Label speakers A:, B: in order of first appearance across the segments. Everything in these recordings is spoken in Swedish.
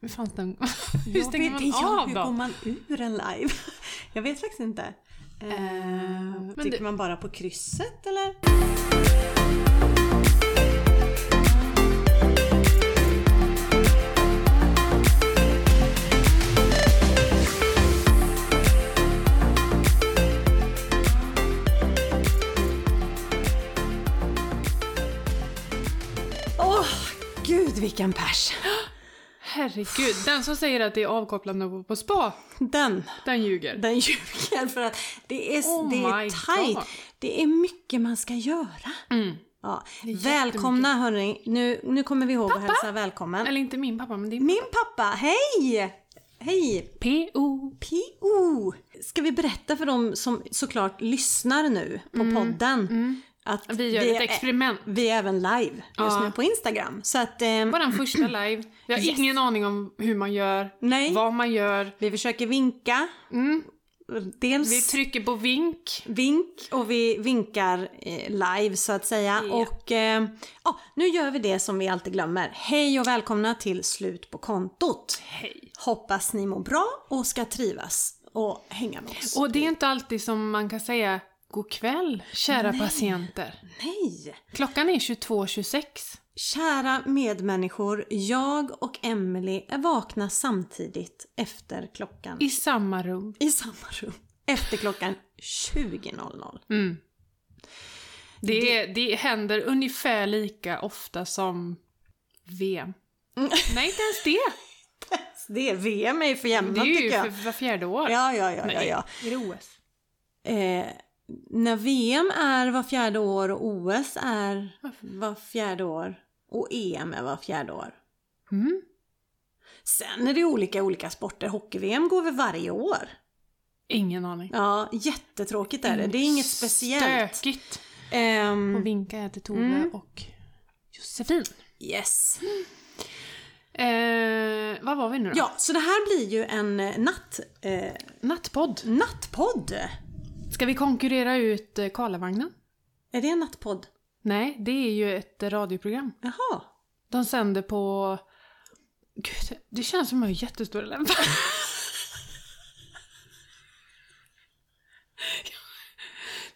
A: Hur fan stäng... hur
B: Jag
A: stänger
B: vet
A: man
B: inte, ja,
A: av
B: Hur
A: då?
B: går man ur en live? Jag vet faktiskt inte. Eh,
A: men
B: trycker
A: du-
B: man bara på krysset eller? Åh, gud vilken pers!
A: Herregud, den som säger att det är avkopplande att gå på spa,
B: Den
A: den ljuger.
B: Den ljuger för att det är,
A: Oh
B: det
A: my
B: är tajt.
A: God.
B: Det är mycket man ska göra.
A: Mm.
B: Ja.
A: är
B: Välkomna hörni. Nu, nu kommer vi ihåg att hälsa välkommen.
A: Eller inte min pappa, men din
B: Min pappa, hej! Hej!
A: P.O.
B: P.O. Ska vi berätta för dem som såklart lyssnar nu på podden att
A: Mm. Vi gör ett experiment.
B: vi är även live just
A: Ja.
B: nu på Instagram. Så att eh,
A: Vår första live. Vi har
B: Yes.
A: ingen aning om hur man gör,
B: Nej.
A: vad man gör.
B: vi försöker vinka.
A: Mm.
B: Dels
A: Vi trycker på vink.
B: vink och vi vinkar eh, live så att säga.
A: Ja.
B: Och eh, ja, nu gör vi det som vi alltid glömmer. Hej och välkomna till Slut på kontot.
A: Hej.
B: Hoppas ni mår bra och ska trivas och hänga med oss.
A: Och det är inte alltid som man kan säga god kväll, kära patienter.
B: Nej!
A: Klockan är 22.26.
B: Kära medmänniskor, jag och Emily är vakna samtidigt efter klockan
A: I samma rum.
B: i samma rum. Efter klockan 20.00.
A: Mm. Det, det... händer ungefär lika ofta som VM.
B: Mm.
A: Nej, inte ens det.
B: Det är VM är ju för
A: Det
B: jämna
A: är ju
B: tycker
A: för
B: jag.
A: var fjärde år.
B: Ja, ja, ja, ja,
A: Nej,
B: ja.
A: är det OS?
B: Eh, när VM är var fjärde år och OS är
A: Varför?
B: var fjärde år och EM är var fjärde år.
A: Mm.
B: Sen är det olika olika sporter. Hockey-VM går väl varje år?
A: Ingen aning.
B: Ja, jättetråkigt är det. Det är inget speciellt.
A: Stökigt.
B: Ehm,
A: Och vinka här till Tove
B: Mm.
A: och Josefin.
B: yes.
A: Eh, vad var vi nu då?
B: Ja, så det här blir ju en eh, natt, eh,
A: Nattpodd.
B: nattpodd.
A: Ska vi konkurrera ut eh, Karlavagnen?
B: Är det en nattpodd?
A: Nej, det är ju ett eh, radioprogram.
B: Jaha.
A: De sänder på... Gud, det känns som att jag har jättestora läppar.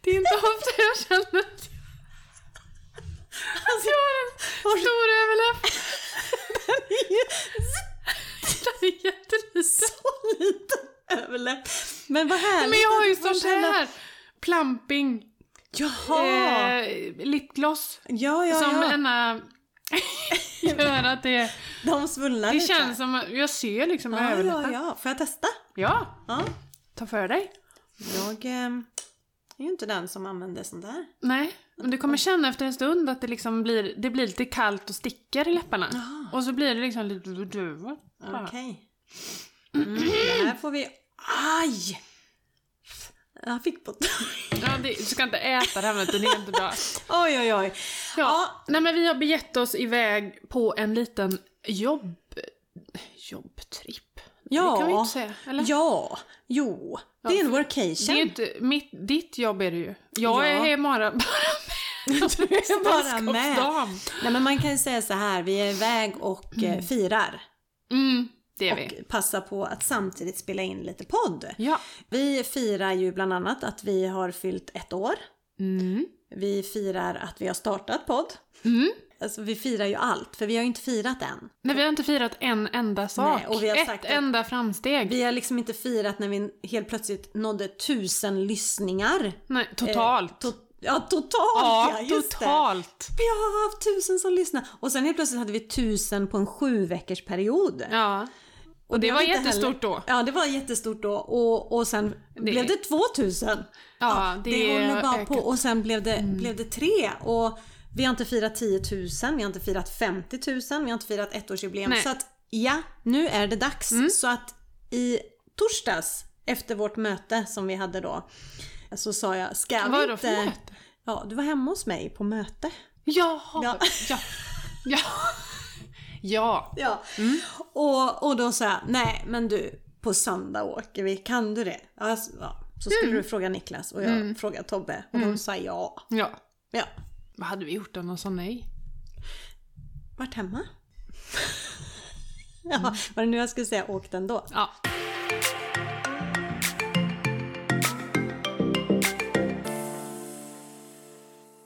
A: Det är inte ofta jag känner att
B: Alltså,
A: jag har en stor överläpp. Den är jätteliten.
B: så liten överläpp. Men vad härligt.
A: Men jag har ju
B: att man
A: sånt
B: känner-
A: här. Plamping.
B: Jaha.
A: Eh, lipgloss.
B: Ja, ja,
A: som
B: ja.
A: ena gör att det,
B: De svullnar
A: det
B: lite.
A: känns som att jag ser liksom med
B: Ja,
A: överläppen.
B: ja, ja. Får jag testa?
A: Ja,
B: Ja.
A: ta för dig.
B: Jag ehm, är ju inte den som använder sånt där.
A: Nej, men du kommer känna efter en stund att det liksom blir, det blir lite kallt och sticker i läpparna.
B: Jaha.
A: Och så blir det liksom lite... du-
B: Okej.
A: Ja.
B: Mm, det här får vi... Aj! Jag fick på...
A: Ja, det, du ska inte äta det här med det är inte bra.
B: oj, oj, oj.
A: Ja.
B: Ja.
A: Nej men vi har begett oss iväg på en liten jobb... jobbtripp.
B: Ja.
A: Det kan vi ju inte säga, eller?
B: Ja, jo. Det är en
A: Det är ju
B: workation.
A: inte, mitt, ditt jobb är det ju. Jag
B: Ja.
A: är bara, bara med. Du är
B: bara med. Nej, men man kan ju säga så här, vi är iväg och eh, firar.
A: Mm, det är vi.
B: Och passar på att samtidigt spela in lite podd.
A: Ja.
B: Vi firar ju bland annat att vi har fyllt ett år.
A: Mm.
B: Vi firar att vi har startat podd.
A: Mm.
B: Alltså vi firar ju allt, för vi har ju inte firat än.
A: Nej, vi har inte firat en enda sak.
B: Nej, och vi har
A: Ett
B: sagt att-
A: enda framsteg.
B: Vi har liksom inte firat när vi helt plötsligt nådde tusen lyssningar.
A: Nej, totalt.
B: Eh, to- ja, totalt ja,
A: ja,
B: just det.
A: totalt.
B: Vi har haft tusen som lyssnar. Och sen helt plötsligt hade vi tusen på en sju veckors period.
A: Ja. Och det
B: har
A: var
B: vi inte
A: jättestort då.
B: Ja, det var jättestort då. Och, och sen
A: Det-
B: blev det två tusen.
A: Ja, det,
B: det håller bara på.
A: ökat.
B: Och sen blev det, blev det tre. Och vi har inte firat 10 000, vi har inte firat 50 000, vi har inte firat ettårsjubileum.
A: Nej. Mm.
B: Så att ja, nu är det dags. Så att i torsdags, efter vårt möte som vi hade då, så sa jag, ska vi
A: Vad då
B: inte...
A: för möte?
B: Ja, du var hemma hos mig på möte.
A: Jaha. Ja.
B: Ja.
A: Ja. Ja. ja.
B: Ja. Mm. Och, och då sa jag, nej men du, på söndag åker vi, kan du det? Ja, s- ja. Så skulle
A: Mm.
B: du fråga Niklas och jag frågade Tobbe och de sa ja. Ja,
A: Vad hade vi gjort om de sa nej?
B: vart hemma. Ja, var det nu jag skulle säga åk den då?
A: Ja.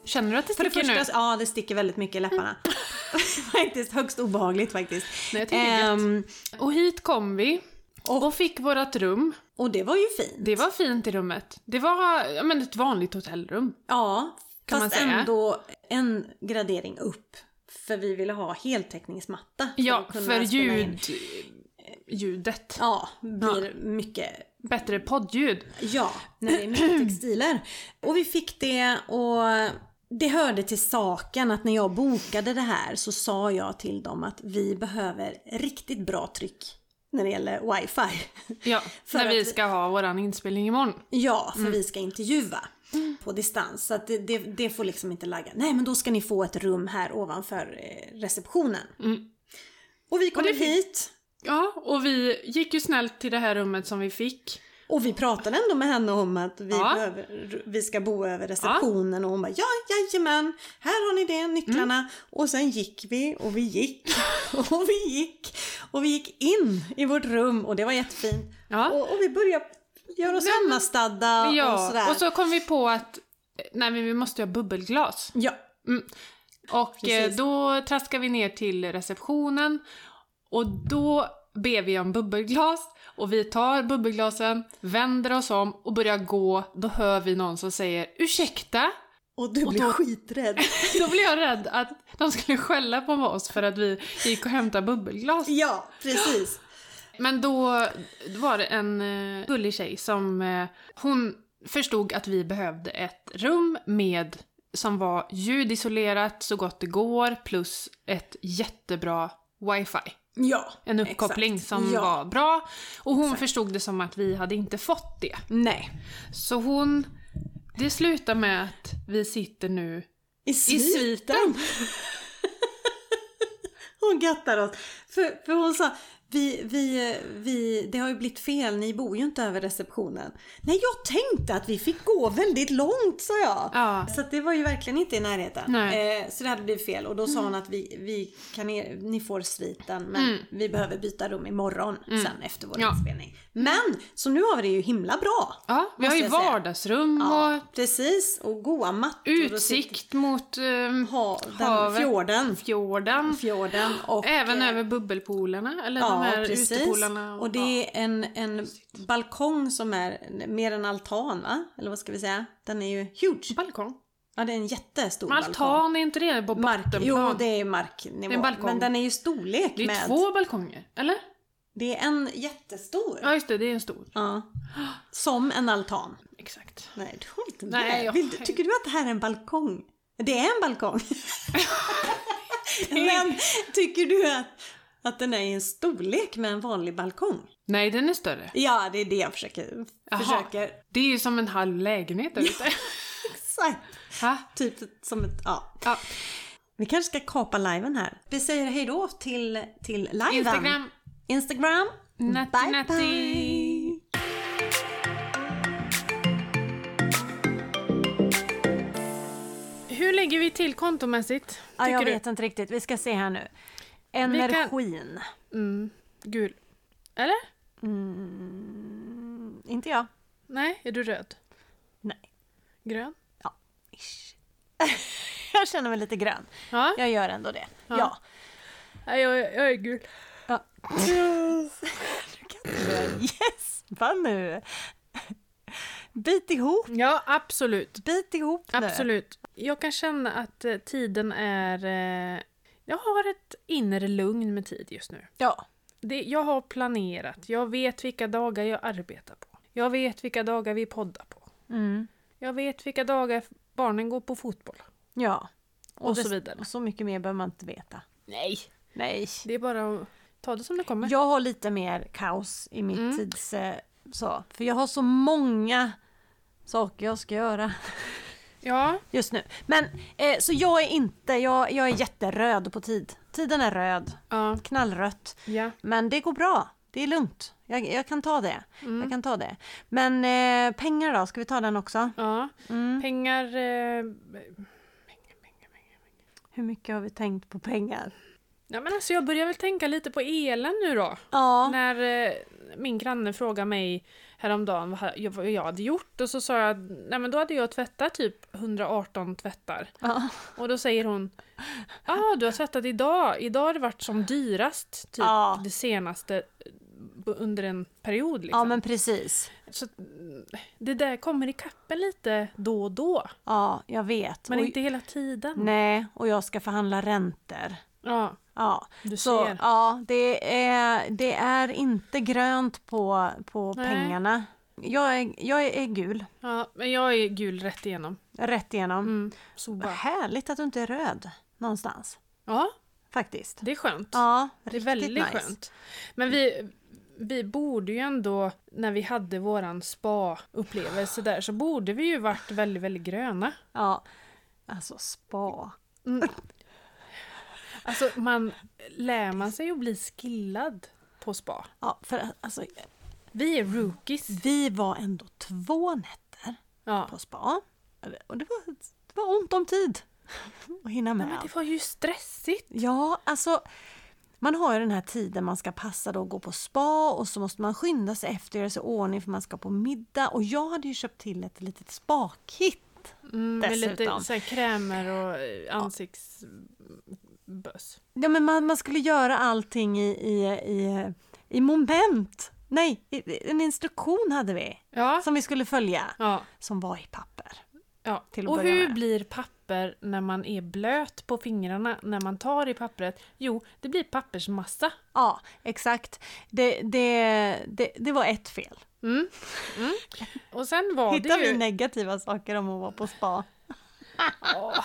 A: Känner du att det
B: För det
A: sticker nu?
B: första, ja det sticker väldigt mycket i läpparna. faktiskt högst obehagligt faktiskt.
A: Nej, jag tycker det är
B: Ehm,
A: Och hit kom vi och, fick vårt rum.
B: och det var ju fint.
A: Det var fint i rummet. Det var ja, men ett vanligt hotellrum.
B: Ja,
A: Kan man
B: fast
A: säga.
B: ändå en gradering upp. För vi ville ha heltäckningsmatta. för
A: Ja,
B: att kunna
A: för
B: spela in.
A: ljud, ljudet.
B: Ja, blir mycket
A: Bättre poddljud.
B: Ja, när det är mycket textiler. Och vi fick det och det hörde till saken att när jag bokade det här så sa jag till dem att vi behöver riktigt bra tryck när det gäller wifi.
A: Ja,
B: För
A: när
B: att
A: vi
B: vi-
A: ska ha våran inspelning imorgon.
B: Ja, för
A: Mm.
B: vi ska intervjua på distans. Så att det, det, det får liksom inte lagga. Nej, men då ska ni få ett rum här ovanför eh, receptionen.
A: Mm.
B: Och vi kom
A: det fick-
B: hit
A: Ja, och vi gick ju snällt till det här rummet som vi fick.
B: och vi pratade ändå med henne om att vi,
A: Ja.
B: behöver, vi ska bo över receptionen och hon bara ja, jajamän, här har ni det, nycklarna.
A: Mm.
B: Och sen gick vi och vi gick och vi gick och vi gick in i vårt rum och det var jättefint.
A: Ja.
B: Och, och vi började göra oss hemmastadda och
A: Ja,
B: sådär.
A: och så kom vi på att eh, nej men vi måste ju ha bubbelglas.
B: Ja,
A: Och eh,
B: Precis.
A: då traskar vi ner till receptionen och då ber vi om bubbelglas och vi tar bubbelglasen, vänder oss om och börjar gå. Då hör vi någon som säger ursäkta.
B: och du blev skiträdd.
A: Då blev jag rädd att de skulle skälla på oss för att vi gick och hämtade bubbelglas.
B: Ja, precis.
A: Men då var det en eh, gullig tjej som eh, hon förstod att vi behövde ett rum med som var ljudisolerat så gott det går plus ett jättebra wifi.
B: Ja,
A: En uppkoppling
B: exakt.
A: som
B: ja.
A: var bra. Och hon förstod det som att vi hade inte fått det.
B: Nej.
A: Så hon... Det slutar med att vi sitter nu
B: I
A: i
B: sviten.
A: sviten.
B: Hon gattar oss. För, för hon sa, vi, vi, vi, det har ju blivit fel, ni bor ju inte över receptionen. Nej, jag tänkte att vi fick gå väldigt långt, sa jag.
A: Ja.
B: Så att det var ju verkligen inte i närheten.
A: Nej. Mm.
B: Eh, så det hade blivit fel och då sa hon att vi, vi kan er, ni får sviten men vi behöver byta rum imorgon sen efter vår
A: Mm. Ja. Mm.
B: inspelning. Men, så nu har vi det ju himla bra.
A: Ja, vi har
B: måste
A: ju
B: jag säga.
A: vardagsrum
B: Ja,
A: och
B: precis. Och goa mattor. och sitt-
A: utsikt mot ehm,
B: Ha, den,
A: Havet.
B: fjorden.
A: fjorden.
B: Fjorden och...
A: Även
B: eh,
A: över bubbelpoolerna, eller de här utepoolerna.
B: Och det är en, en balkong som är mer en altan va? Eller vad ska vi säga? Den är ju huge.
A: ja, balkong.
B: Ja det är en jättestor
A: Men
B: balkong.
A: Altan, är inte det på
B: Mark, jo
A: bottenplan?
B: det är marknivå.
A: Det är en balkong.
B: Men den är ju storlek
A: det är
B: med.
A: två balkonger, eller?
B: Det är en jättestor.
A: Ja, just det, det är en stor.
B: Ja. Som en altan.
A: Exakt.
B: Nej du håller inte med.
A: Nej, jag-
B: Vill du, tycker du att det här är en balkong? Det är en balkong. Men tycker du att, att den är i en storlek med en vanlig balkong?
A: Nej, den är större.
B: Ja, det är det jag försöker.
A: Jaha.
B: försöker.
A: Det är ju som en halv lägenhet där ute.
B: Exakt.
A: Ha?
B: Typ som ett, ja.
A: ja.
B: Vi kanske ska kapa liven här. Vi säger hej då till, till liven.
A: Instagram.
B: Instagram.
A: Natti,
B: bye
A: natti.
B: bye.
A: Hur lägger vi till kontomässigt? Tycker
B: Ja, jag
A: du?
B: vet inte riktigt. Vi ska se här nu.
A: kan-
B: Energin.
A: Mm, gul. Eller?
B: Inte jag.
A: Nej, är du röd?
B: Nej.
A: Grön?
B: Ish. jag känner mig lite grön.
A: Ja.
B: Jag gör ändå det. Ja.
A: Nej, jag, jag är gul.
B: ja. Du kan inte börja gäspa nu. Bit ihop.
A: Ja, absolut.
B: Bit ihop nu.
A: Absolut. Jag kan känna att eh, tiden är... Eh, jag har ett inre lugn med tid just nu.
B: Ja.
A: Det, jag har planerat. Jag vet vilka dagar jag arbetar på. Jag vet vilka dagar vi poddar på.
B: Mm.
A: Jag vet vilka dagar barnen går på fotboll.
B: Ja.
A: Och, så
B: det-
A: vidare.
B: och Så mycket mer behöver man inte veta.
A: Nej.
B: Nej.
A: Det är bara att ta det som det kommer.
B: Jag har lite mer kaos i mitt
A: Mm.
B: tids... eh, Så, för jag har så många saker jag ska göra
A: Ja.
B: just nu. Men eh, så jag är inte, jag, jag är jätteröd på tid. Tiden är röd,
A: Ja.
B: knallrött.
A: ja.
B: Men det går bra, det är lugnt. Jag, jag kan ta det.
A: Mm.
B: Jag kan ta det. Men eh, pengar då, ska vi ta den också? Mm.
A: ja. Pengar... Eh, pengar, pengar, pengar.
B: Hur mycket har vi tänkt på pengar?
A: Ja, men alltså jag börjar väl tänka lite på elen nu då.
B: Ja,
A: När eh, min granne frågade mig häromdagen vad ha- jag- vad jag hade gjort och så sa jag nej men då hade jag tvättat typ 118 tvättar.
B: ja.
A: Och då säger hon ah, du har tvättat idag, idag har det varit som dyrast typ
B: Ja.
A: det senaste eh, b- under en period liksom.
B: ja men precis.
A: Så att, mm, det där kommer i kappen lite då och då,
B: Ja, jag vet.
A: men
B: och,
A: inte hela tiden.
B: Nej, och jag ska förhandla räntor.
A: Ja,
B: Ja,
A: du
B: så
A: ser.
B: ja, det är, det är inte grönt på, på
A: Nej.
B: pengarna. Jag är, jag är, är gul,
A: Ja, men jag är gul rätt igenom.
B: rätt igenom.
A: Mm.
B: Vad
A: Soba.
B: härligt att du inte är röd någonstans,
A: Ja,
B: faktiskt.
A: det är skönt.
B: Ja,
A: Det är
B: riktigt
A: väldigt
B: nice.
A: skönt. Men vi, vi borde ju ändå, när vi hade våran spa-upplevelse där, så borde vi ju varit väldigt, väldigt gröna.
B: Ja, alltså spa.
A: Alltså, man lär man sig att bli skillad på spa.
B: Ja, för alltså,
A: Vi är rookies.
B: vi var ändå två nätter
A: Ja.
B: Mm. på spa. Och det var, det var ont om tid att hinna med
A: Men
B: allt.
A: det var ju stressigt.
B: Ja, alltså man har ju den här tiden man ska passa då och gå på spa och så måste man skynda sig efter och göra sig i ordning för man ska på middag. Och jag hade ju köpt till ett litet spa-kit.
A: Mm, med lite
B: Dessutom.
A: så här, krämer och eh, ansiktsböss.
B: Ja, men man, man skulle göra allting i, i, i, i moment. Nej, i- i- en instruktion hade vi
A: Ja.
B: som vi skulle följa
A: ja.
B: som var i papper.
A: ja.
B: Till att
A: Och
B: börja
A: hur
B: med.
A: blir papper när man är blöt på fingrarna när man tar i pappret? Jo, det blir pappersmassa.
B: Ja, exakt. Det, det, det, det var ett fel.
A: Mm. Mm. Och sen var
B: Hittar
A: det ju...
B: vi negativa saker om att vara på spa?
A: Åh.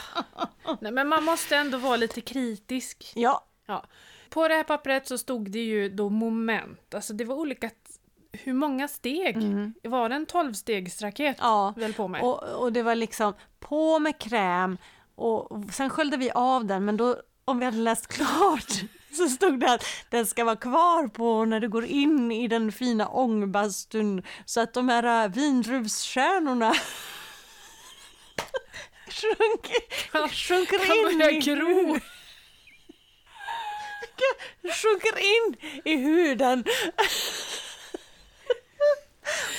A: Nej, men man måste ändå vara lite kritisk.
B: Ja,
A: Ja. På det här pappret så stod det ju då moment. Alltså det var olika... Hur många steg? Var det en tolvstegsraket?
B: Mm. ja.
A: Väl på mig.
B: Och, och det var liksom på med kräm och och sen sköljde vi av den men då om vi hade läst klart så stod det att den ska vara kvar på när du går in i den fina ångbastun så att de här äh, vindruvskärnorna sjunker, sjunker
A: Han
B: in
A: börjar
B: i huden
A: gro.
B: sjunker in i huden.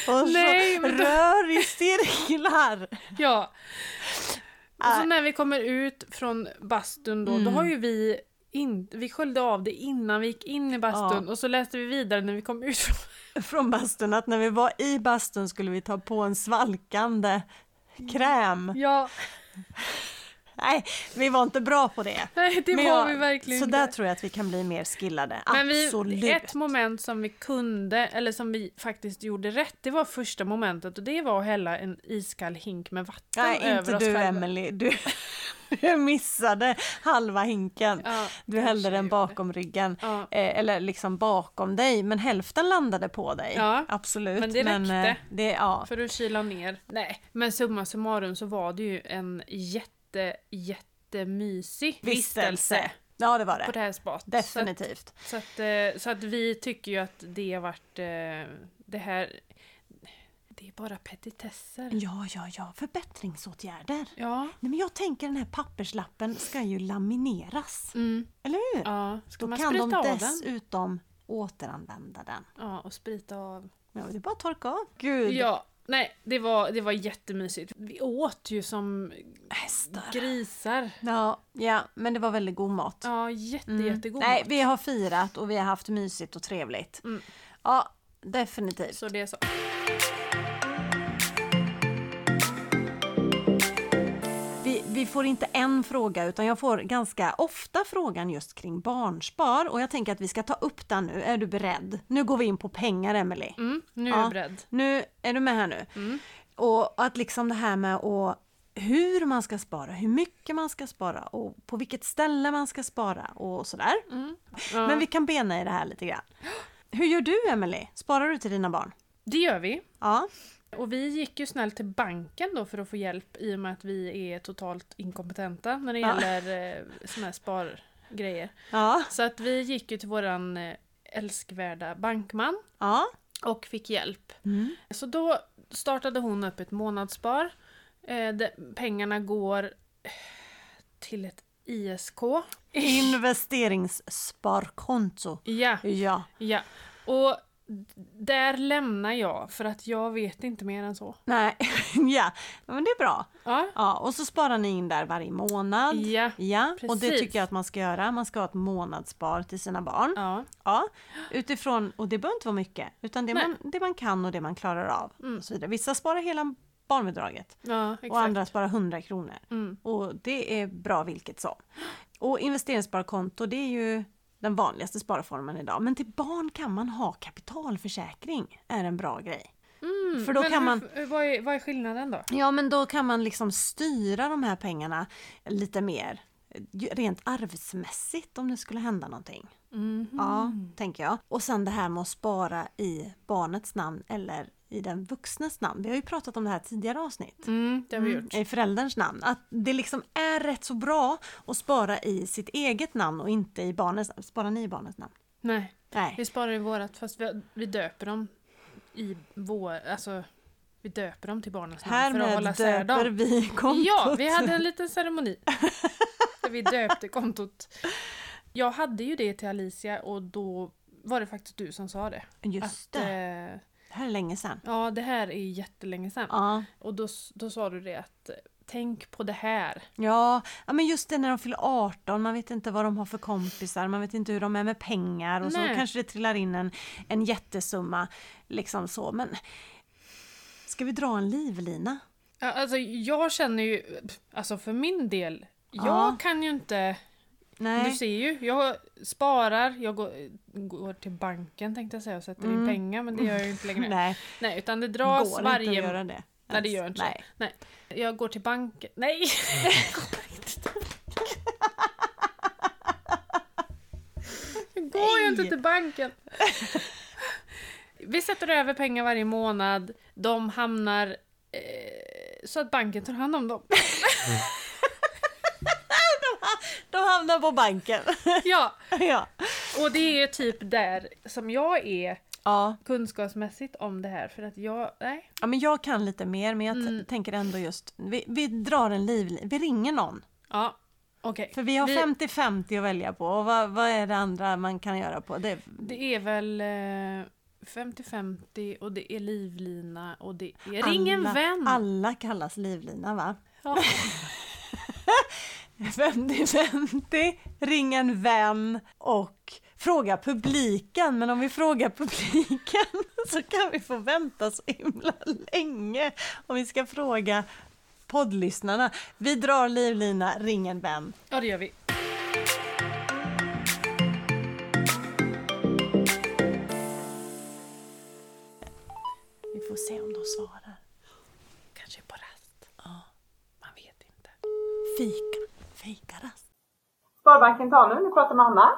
B: Och
A: Nej,
B: så
A: men då-
B: rör i cirklar.
A: Ja. Och så
B: Äh.
A: när vi kommer ut från bastun då, då har ju vi in, vi sköljde av det innan vi gick in i bastun och så läste vi vidare när vi kom ut från
B: Från bastun att när vi var i bastun skulle vi ta på en svalkande kräm.
A: Ja,
B: Nej, vi var inte bra på det.
A: nej det
B: Men
A: var
B: jag-
A: vi verkligen
B: Så där
A: inte.
B: tror jag att vi kan bli mer skillade.
A: Men vi,
B: Absolut.
A: ett moment som vi kunde, eller som vi faktiskt gjorde rätt, det var första momentet och det var att hälla en iskall hink med vatten
B: Nej,
A: över
B: inte
A: oss
B: du
A: själva.
B: Emelie. Du, du missade halva hinken.
A: Ja,
B: Du
A: kanske
B: hällde den
A: gjorde.
B: bakom ryggen.
A: Ja.
B: Eh, eller liksom bakom dig, men hälften landade på dig.
A: Ja,
B: Absolut.
A: men det
B: eh,
A: räckte.
B: det, ja.
A: För att kyla ner. Nej, men summa summarum så var det ju en jätte, jättemysig vistelse
B: Ja, det var
A: på
B: det.
A: det här spat.
B: Definitivt.
A: Så att, så, att, eh, så att vi tycker ju att det har varit eh, det här... Det är bara petitesser.
B: Ja, ja, ja. Förbättringsåtgärder.
A: Ja.
B: Nej, men jag tänker den här papperslappen ska ju lamineras.
A: Mm.
B: Eller hur?
A: Ja, ska
B: Då
A: man
B: kan de
A: sprita av den?
B: dessutom återanvända den.
A: Ja, och sprita av.
B: Ja, det är bara att torka av. Gud,
A: Ja, nej, det var, det var jättemysigt. Vi åt ju som
B: hästar.
A: grisar.
B: Ja, ja, men det var väldigt god mat.
A: Ja, jätte,
B: Mm.
A: jättegod
B: Nej,
A: mat.
B: vi har firat och vi har haft mysigt och trevligt.
A: Mm.
B: Ja, definitivt.
A: Så det är så.
B: Vi, vi får inte en fråga utan jag får ganska ofta frågan just kring barnspar och jag tänker att vi ska ta upp den nu. Är du beredd? Nu går vi in på pengar, Emelie.
A: Mm, nu är
B: Ja.
A: jag beredd.
B: Nu är du med här nu. Och att liksom det här med att hur man ska spara, hur mycket man ska spara och på vilket ställe man ska spara och sådär.
A: Mm. Ja.
B: Men vi kan bena i det här lite grann. Hur gör du Emelie? Sparar du till dina barn?
A: Det gör vi.
B: Ja.
A: Och vi gick ju snällt till banken då för att få hjälp i och med att vi är totalt inkompetenta när det
B: Ja.
A: gäller eh, såna här spargrejer.
B: Ja.
A: Så att vi gick ju till våran eh, älskvärda bankman
B: Ja.
A: och fick hjälp.
B: Mm.
A: Så då startade hon upp ett månadsspar. Eh, där pengarna går eh, till ett ISK.
B: Investeringssparkonto.
A: Ja,
B: Ja.
A: ja. Och där lämnar jag för att jag vet inte mer än så.
B: Nej, ja. Men det är bra.
A: Ja,
B: Ja, och så sparar ni in där varje månad.
A: ja.
B: Ja, och det
A: Precis.
B: tycker jag att man ska göra. Man ska ha ett månadsspar till sina barn. Ja.
A: ja.
B: utifrån, och det behöver inte vara mycket, utan det
A: Nej.
B: man, det man kan och det man klarar av. Och så vidare. Vissa sparar hela barnbidraget
A: Ja, exakt.
B: och andra sparar 100 kronor.
A: Mm.
B: Och det är bra vilket som. Och investeringssparkonto, det är ju den vanligaste sparformen idag. Men till barn kan man ha kapitalförsäkring, är en bra grej.
A: Mm,
B: För då
A: men
B: kan
A: hur-
B: man-
A: hur- Vad är, vad är skillnaden då?
B: Ja, men då kan man liksom styra de här pengarna lite mer eh, rent arvsmässigt om det skulle hända någonting.
A: Mhm.
B: Ja, tänker jag. Och sen det här med att spara i barnets namn eller i den vuxnes namn. Vi har ju pratat om det här tidigare avsnitt.
A: Mm, det har vi gjort.
B: I förälderns namn. Att det liksom är rätt så bra att spara i sitt eget namn och inte i barnets namn. Sparar ni i barnets namn?
A: Nej,
B: Nej.
A: vi sparar i vårat fast vi, vi döper dem i vår... Alltså, vi döper dem till barnens namn för att hålla
B: Härmed
A: isär dem.
B: döper vi kontot.
A: Ja, vi hade en liten ceremoni. Där vi döpte kontot. Jag hade ju det till Alicia och då var det faktiskt du som sa det.
B: Just
A: Att,
B: det.
A: eh,
B: Det här är länge sedan.
A: ja, det här är jättelänge sedan.
B: Ja.
A: Och då, s- då sa du det att eh, tänk på det här.
B: Ja, ja, men just det när de fyller 18, man vet inte vad de har för kompisar, man vet inte hur de är med pengar och
A: Nej.
B: så kanske det trillar in en, en jättesumma. Liksom så, men ska vi dra en livlina?
A: Ja, alltså, jag känner ju, alltså för min del, jag
B: Ja.
A: kan ju inte Du
B: Nej,
A: ser ju, jag sparar, jag går, går till banken tänkte jag säga och sätter in pengar men det gör jag ju inte längre. Nej,
B: Mm. nej,
A: utan det
B: går
A: dras
B: inte
A: varje...
B: att göra det.
A: Nej det gör inte
B: nej.
A: så. Nej. Jag går till banken. Nej! Jag går ju inte
B: Nej.
A: till banken. Vi sätter över pengar varje månad. De hamnar eh, så att banken tar hand om dem.
B: De hamnar på banken.
A: Ja,
B: ja.
A: och det är ju typ där som jag är
B: Ja.
A: kunskapsmässigt om det här för att jag, nej.
B: ja, men jag kan lite mer, men jag t-
A: Mm.
B: tänker ändå just, vi, vi drar en livlina, vi ringer någon.
A: Ja, okej.
B: För vi har
A: Vi-
B: 50-50 att välja på och vad, vad är det andra man kan göra på? Det,
A: Det är väl eh, 50-50 och det är livlina och det är ring en
B: alla,
A: vän.
C: Mm.
B: Alla kallas livlina va?
A: Ja.
B: 50-50, ring en vän och fråga publiken. Men om vi frågar publiken så kan vi få vänta så himla länge om vi ska fråga poddlyssnarna. Vi drar livlina, ring en vän.
A: ja, det gör vi.
B: Vi får se om de svarar.
A: Kanske på rast. Man vet inte.
B: Fika, fikarast.
D: Sparbanken Tanum, du pratar med Anna.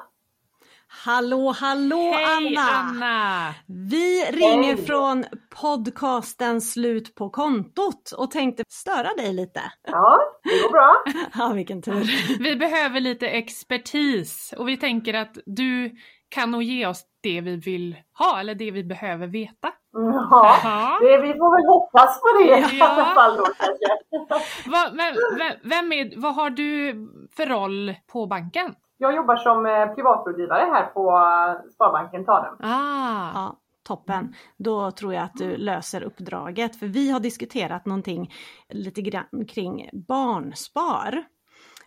C: Hallå, hallå
A: Hej
C: Anna.
A: Anna!
C: Vi ringer från podcasten Slut på kontot och tänkte störa dig lite.
D: Ja, det går bra.
C: Ja, vilken tur.
A: Vi behöver lite expertis och vi tänker att du kan nog ge oss det vi vill ha eller det vi behöver veta.
D: Ja,
A: Ja.
D: det, vi får väl hoppas på det i
A: Ja.
D: alla fall då kanske.
A: Vad, vem, vem, vem är, vad har du för roll på banken?
D: Jag jobbar som eh, privatrådgivare här på eh, Sparbanken Tanum.
A: Ah,
C: Ja,
D: Mm.
C: toppen. Då tror jag att du löser uppdraget. För vi har diskuterat någonting lite grann kring barnspar.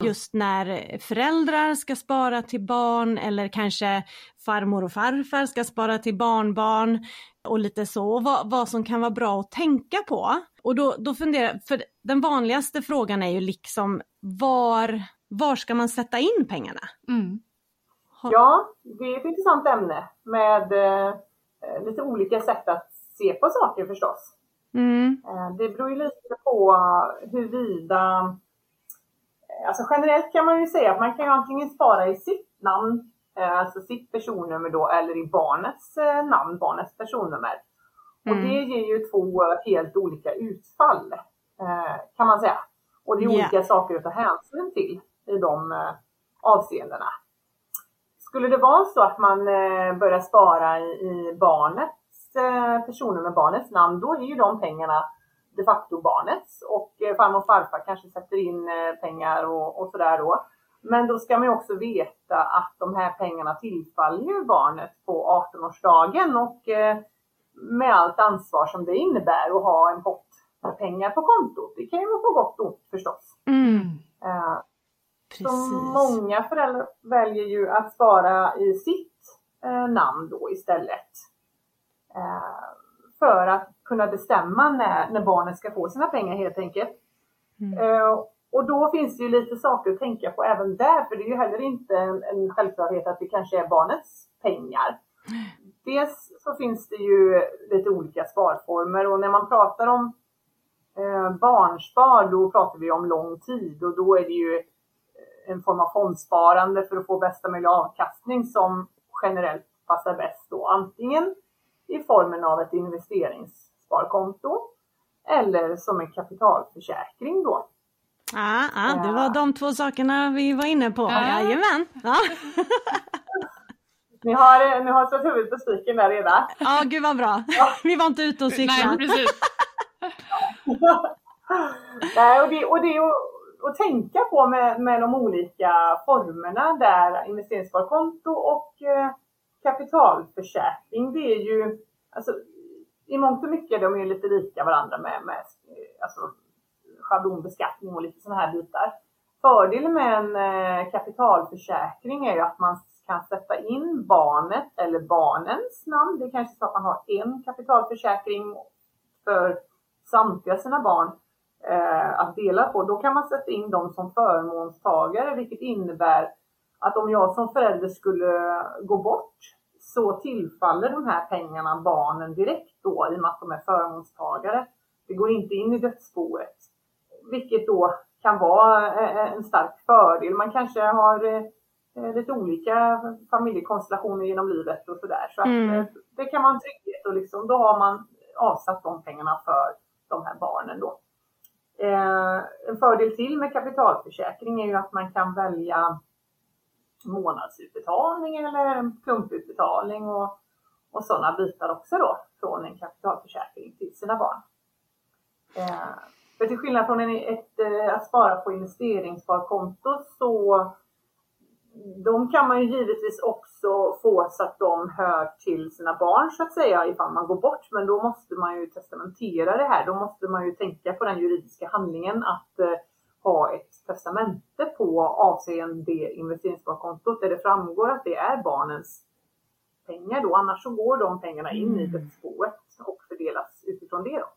C: Just när föräldrar ska spara till barn eller kanske farmor och farfar ska spara till barnbarn och lite så. Och vad, vad som kan vara bra att tänka på. Och då, då funderar för den vanligaste frågan är ju liksom var, var ska man sätta in pengarna?
A: mm.
D: Ja, det är ett intressant ämne med eh, lite olika sätt att se på saker förstås.
C: Mm.
D: Eh, Det beror ju lite på huruvida... eh, Alltså generellt kan man ju säga att man kan ju antingen spara i sitt namn, eh, alltså sitt personnummer då, eller i barnets eh, namn, barnets personnummer. Och
A: Mm.
D: det ger ju två helt olika utfall, eh, kan man säga. Och det är
C: Ja.
D: olika saker att ta hänsyn till i de eh, avseendena. Skulle det vara så att man eh, börjar spara i, i barnets eh, personnummer, barnets namn, då är ju de pengarna de facto barnets och eh, farmor och farfar kanske sätter in eh, pengar och, och sådär då. Men då ska man ju också veta att de här pengarna tillfaller ju barnet på 18-årsdagen och eh, med allt ansvar som det innebär att ha en pott med pengar på kontot. Det kan ju vara på gott och ont förstås.
C: Mm,
D: Eh,
C: precis.
D: Så många föräldrar väljer ju att spara i sitt eh, namn då istället. Eh, för att kunna bestämma när, när barnet ska få sina pengar helt enkelt.
C: Mm.
D: Eh, och då finns det ju lite saker att tänka på även där, för det är ju heller inte en, en självklarhet att det kanske är barnets pengar. Dels så finns det ju lite olika sparformer och när man pratar om eh, barnspar, då pratar vi om lång tid och då är det ju eh, en form av fondsparande för att få bästa möjliga avkastning som generellt passar bäst då antingen i formen av ett investeringssparkonto eller som en kapitalförsäkring då.
C: Ah, ah, det var de två sakerna vi var inne på.
A: Ja.
C: Jajamän! Ja,
D: Ni har, eh, ni har satt huvudet på spiken där redan.
C: ah, gud vad bra. Vi var inte ute och
A: Nej,
C: cyklade.
A: precis.
D: Nej, och det, och det är att, att tänka på med, med de olika formerna där investeringssparkonto och eh, kapitalförsäkring, det är ju alltså, i mångt och mycket de är ju lite lika varandra med, med eh, alltså, schablonbeskattning och lite sådana här bitar. Fördelen med en eh, kapitalförsäkring är ju att man kan sätta in barnet eller barnens namn. Det är kanske så att man har en kapitalförsäkring för samtliga sina barn eh, att dela på. Då kan man sätta in dem som förmånstagare, vilket innebär att om jag som förälder skulle gå bort så tillfaller de här pengarna barnen direkt då i och med att de är förmånstagare. Det går inte in i dödsboet, vilket då kan vara eh, en stark fördel. Man kanske har eh, eh, lite olika familjekonstellationer genom livet och sådär. Så att,
C: Mm.
D: eh, det kan vara en trygghet och liksom, då har man avsatt de pengarna för de här barnen då. Eh, en fördel till med kapitalförsäkring är ju att man kan välja månadsutbetalning eller en klumputbetalning och, och sådana bitar också då från en kapitalförsäkring till sina barn. Eh, för till skillnad från en, ett, eh, att spara på investeringssparkonto så de kan man ju givetvis också få så att de hör till sina barn så att säga ifall man går bort. Men då måste man ju testamentera det här. Då måste man ju tänka på den juridiska handlingen att eh, ha ett testamente på avseende det investeringssparkontot där det framgår att det är barnens pengar då. Annars så går de pengarna in i dödsboet och fördelas utifrån det då.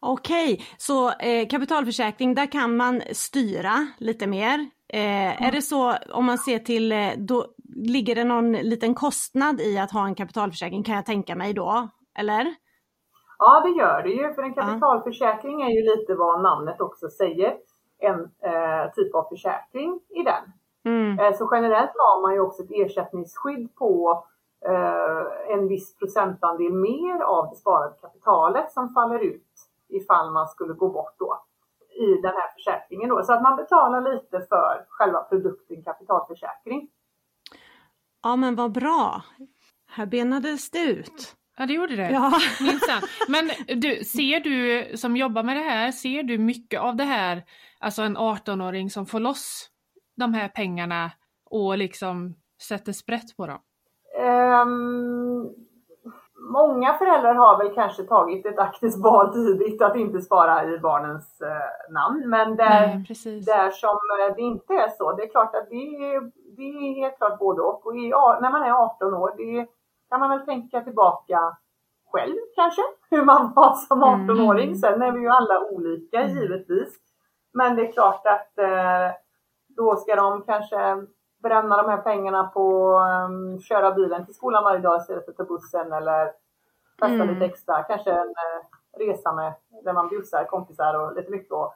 C: Okej, så eh, kapitalförsäkring, där kan man styra lite mer. Eh, Är det så, om man ser till, eh, då ligger det någon liten kostnad i att ha en kapitalförsäkring kan jag tänka mig då, eller?
D: Ja, det gör det ju. För en kapitalförsäkring är ju lite vad namnet också säger. En eh, typ av försäkring i den.
C: Mm.
D: Eh, så generellt har man ju också ett ersättningsskydd på eh, en viss procentandel mer av det sparade kapitalet som faller ut ifall man skulle gå bort då i den här försäkringen. Då. Så att man betalar lite för själva produkten kapitalförsäkring.
C: Ja men vad bra. Här benades det ut.
A: Ja, det gjorde det.
C: Ja.
A: Minsann. Men du, ser du som jobbar med det här, ser du mycket av det här, alltså en 18-åring som får loss de här pengarna och liksom sätter sprätt på dem?
D: Ehm, många föräldrar har väl kanske tagit ett aktivt val tidigt att inte spara i barnens eh, namn. Men där,
A: Nej, precis.
D: där som eh, det inte är så, det är klart att det är, det är helt klart både och. och i, ja, när man är 18 år, det kan man väl tänka tillbaka själv kanske, hur man var som 18-åring. Sen är vi ju alla olika givetvis. Men det är klart att eh, då ska de kanske bränna de här pengarna på um, köra bilen till skolan varje dag istället för att ta bussen eller festa
C: Mm.
D: lite extra. Kanske en eh, resa med, där man bjussar kompisar och lite mycket. Och,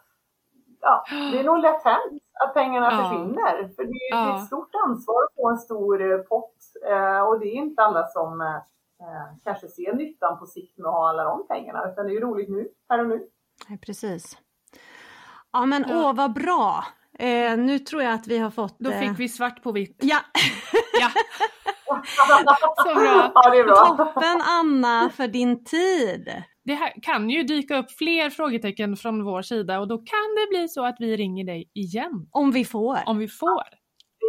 D: ja, det är nog lätt hänt att pengarna
A: Ja.
D: försvinner. För det
A: Ja.
D: är det är ett stort ansvar att få en stor eh, pott eh, och det är inte alla som eh, eh, kanske ser nyttan på sikt med att ha alla de pengarna. Utan det är ju roligt nu, här och nu.
C: Nej, precis. Ja men åh vad bra. Eh, nu tror jag att vi har fått...
A: Då
C: eh,
A: fick vi svart på vitt.
C: Ja,
A: Ja, så bra.
D: Ja, det är bra.
C: toppen Anna för din tid.
A: det här kan ju dyka upp fler frågetecken från vår sida och då kan det bli så att vi ringer dig igen.
B: Om vi får.
A: Om vi får.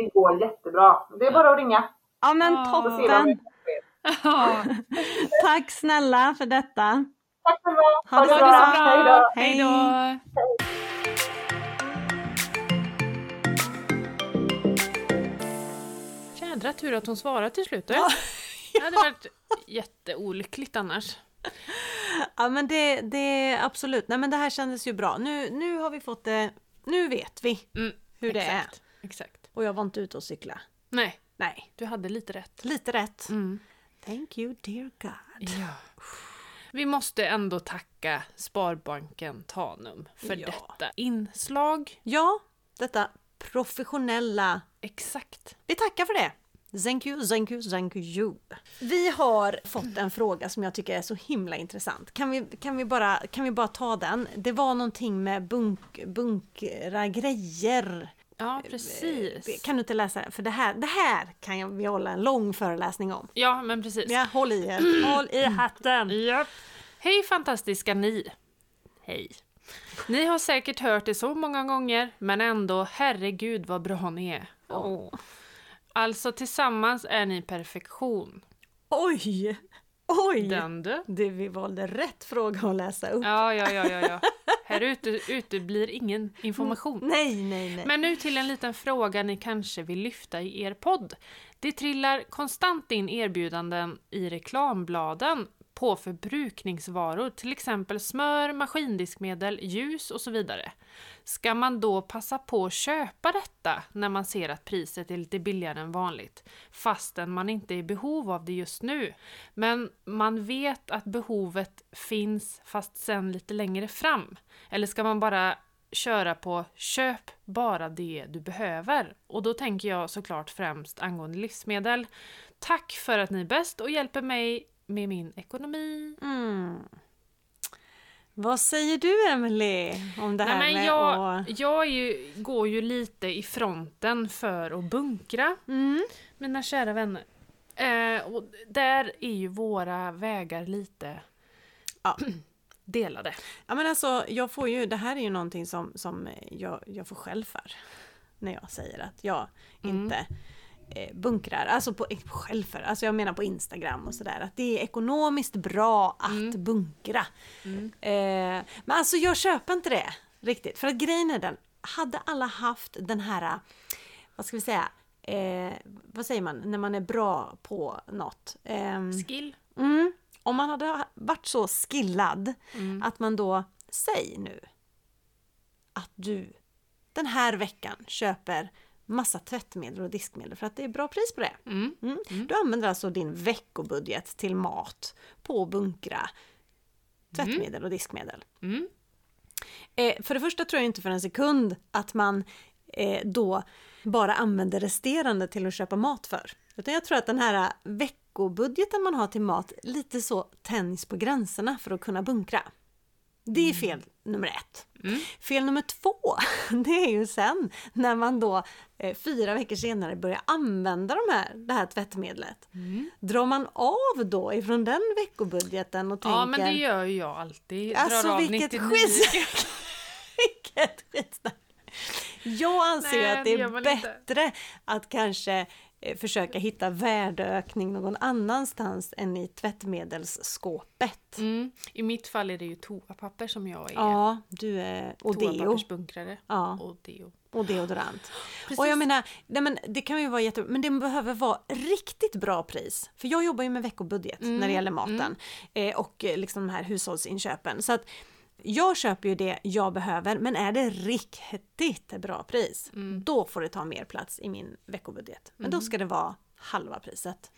D: Det går jättebra. Det är bara att ringa.
B: Ja men
A: Ja.
B: toppen!
A: Ja,
B: Tack snälla för detta.
D: Tack för mig.
B: Ha det så bra.
D: Hej då.
A: Hej då! Jädra tur att hon svarade till slut. du. Det hade varit jätteolyckligt annars.
B: Ja men det, det absolut, nej men det här kändes ju bra. Nu, nu har vi fått det, nu vet vi
A: Mm,
B: hur det är.
A: exakt, Exakt.
B: Och jag var inte ute och cykla.
A: Nej,
B: Nej,
A: du hade lite rätt.
B: lite rätt.
A: Mm.
B: Thank you dear God.
A: Ja. Vi måste ändå tacka Sparbanken Tanum för
B: Ja.
A: detta inslag.
B: Ja, detta professionella
A: Exakt.
B: Vi tackar för det! Thank you, thank you, thank you. Vi har fått en fråga som jag tycker är så himla intressant. Kan vi, kan vi, bara, kan vi bara ta den? Det var någonting med bunk, bunkra grejer.
A: Ja, precis.
B: Kan du inte läsa det? För det här, det här kan jag, vi hålla en lång föreläsning om.
A: Ja, men precis.
B: Ja, håll i
A: Mm.
B: er. Håll i hatten!
A: Japp. Hej fantastiska ni! Hej! Ni har säkert hört det så många gånger, men ändå, herregud vad bra ni är. Åh. Alltså tillsammans är ni perfektion.
B: Oj! Oj!
A: Den du.
B: Du, vi valde rätt fråga att läsa upp.
A: Ja, ja, ja, ja, ja. Här ute, ute blir ingen information.
B: Nej, nej, nej.
A: Men nu till en liten fråga ni kanske vill lyfta i er podd. Det trillar konstant in erbjudanden i reklambladen på förbrukningsvaror, till exempel smör, maskindiskmedel, ljus och så vidare. Ska man då passa på att köpa detta när man ser att priset är lite billigare än vanligt, fastän man inte är i behov av det just nu? Men man vet att behovet finns, fast sen lite längre fram. Eller ska man bara köra på köp bara det du behöver. Och då tänker jag såklart främst angående livsmedel. Tack för att ni är bäst och hjälper mig med min ekonomi.
B: Mm. Vad säger du Emelie om det här
A: Nej, men
B: med
A: jag
B: att...
A: jag är ju, går ju lite i fronten för att bunkra,
B: Mm.
A: mina kära vänner. Eh, och där är ju våra vägar lite
B: Ja.
A: delade.
B: Ja, men alltså, jag får ju, det här är ju någonting som, som eh, jag, jag får skäll för. När jag säger att jag inte eh, bunkrar. Alltså på, eh, skäll för, alltså jag menar på Instagram och sådär. Att det är ekonomiskt bra att bunkra. Eh, men alltså jag köper inte det riktigt. För att grejen är den, hade alla haft den här, vad ska vi säga, eh, vad säger man när man är bra på något? Ehm,
A: Skill.
B: Mm. Om man hade ha- varit så skillad att man då, säg nu att du den här veckan köper massa tvättmedel och diskmedel för att det är bra pris på det.
A: Mm.
B: Mm. Du använder alltså din veckobudget till mat på att bunkra tvättmedel och diskmedel.
A: Mm.
B: Eh, för det första tror jag inte för en sekund att man eh, då bara använder resterande till att köpa mat för. Utan jag tror att den här eh, veckobudgeten man har till mat lite så tänjs på gränserna för att kunna bunkra. Det
A: Mm.
B: är fel nummer ett. Fel nummer två, det är ju sen när man då eh, fyra veckor senare börjar använda de här, det här tvättmedlet.
A: Mm.
B: Drar man av då ifrån den veckobudgeten och tänker...
A: Ja, men det gör ju jag alltid.
B: Alltså
A: av
B: vilket
A: 99
B: skitsnack! vilket skitsnack! Jag anser ju
A: Nej,
B: att det
A: det gör
B: är
A: man inte.
B: bättre att kanske eh, försöka hitta värdeökning någon annanstans än i tvättmedelsskåpet.
A: Mm. I mitt fall är det ju toapapper som jag är.
B: Ja, du är... Och deo.
A: Toapappersbunkrare.
B: Ja.
A: Och deo.
B: och deodorant.
A: Precis.
B: Och jag menar, nej men det kan ju vara jättebra, men det behöver vara riktigt bra pris. För jag jobbar ju med veckobudget
A: Mm,
B: när det gäller maten eh, och eh, liksom de här hushållsinköpen. Så att jag köper ju det jag behöver, men är det riktigt bra pris,
A: Mm.
B: då får det ta mer plats i min veckobudget. Men då ska det vara halva priset.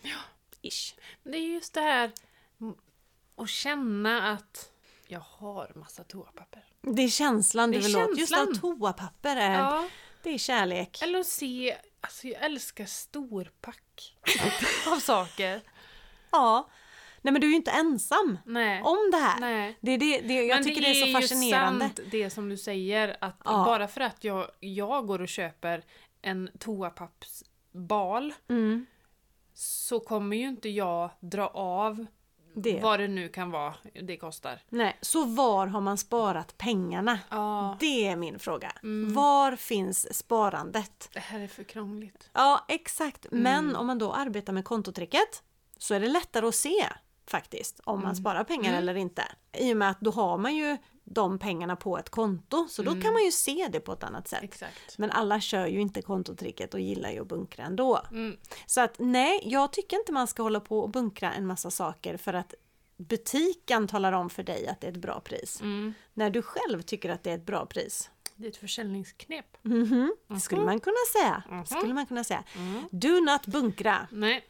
B: Ish.
A: Men det är just det här mm, att känna att jag har massa toapapper.
B: Det är känslan
A: Det
B: du
A: är
B: vill åt. Just att
A: känslan.
B: toapapper är,
A: Ja.
B: det är kärlek.
A: Eller att se, alltså jag älskar storpack av saker.
B: Ja. Nej men du är ju inte ensam
A: Nej.
B: om det här.
A: Nej.
B: Det, är det, det, jag
A: Men
B: tycker det är, så
A: ju
B: fascinerande.
A: sant det som du säger att
B: Ja.
A: bara för att jag, jag går och köper en toapappsbal
B: Mm.
A: så kommer ju inte jag dra av
B: det.
A: Vad det nu kan vara det kostar.
B: Nej, så var har man sparat pengarna?
A: Ja,
B: Det är min fråga. Var finns sparandet?
A: det här är för krångligt.
B: Ja, exakt. Men om man då arbetar med kontotricket så är det lättare att se faktiskt om man sparar pengar eller inte. I och med att då har man ju de pengarna på ett konto så då kan man ju se det på ett annat sätt.
A: Exakt.
B: Men alla kör ju inte kontotricket och gillar ju att bunkra ändå.
A: Mm.
B: Så att nej, jag tycker inte man ska hålla på och bunkra en massa saker för att butiken talar om för dig att det är ett bra pris.
A: Mm.
B: När du själv tycker att det är ett bra pris.
A: Det är ett försäljningsknep.
B: Mhm, Det skulle man kunna säga.
A: Mhm.
B: Skulle man kunna säga.
A: Mm.
B: Do not bunkra.
A: Nej.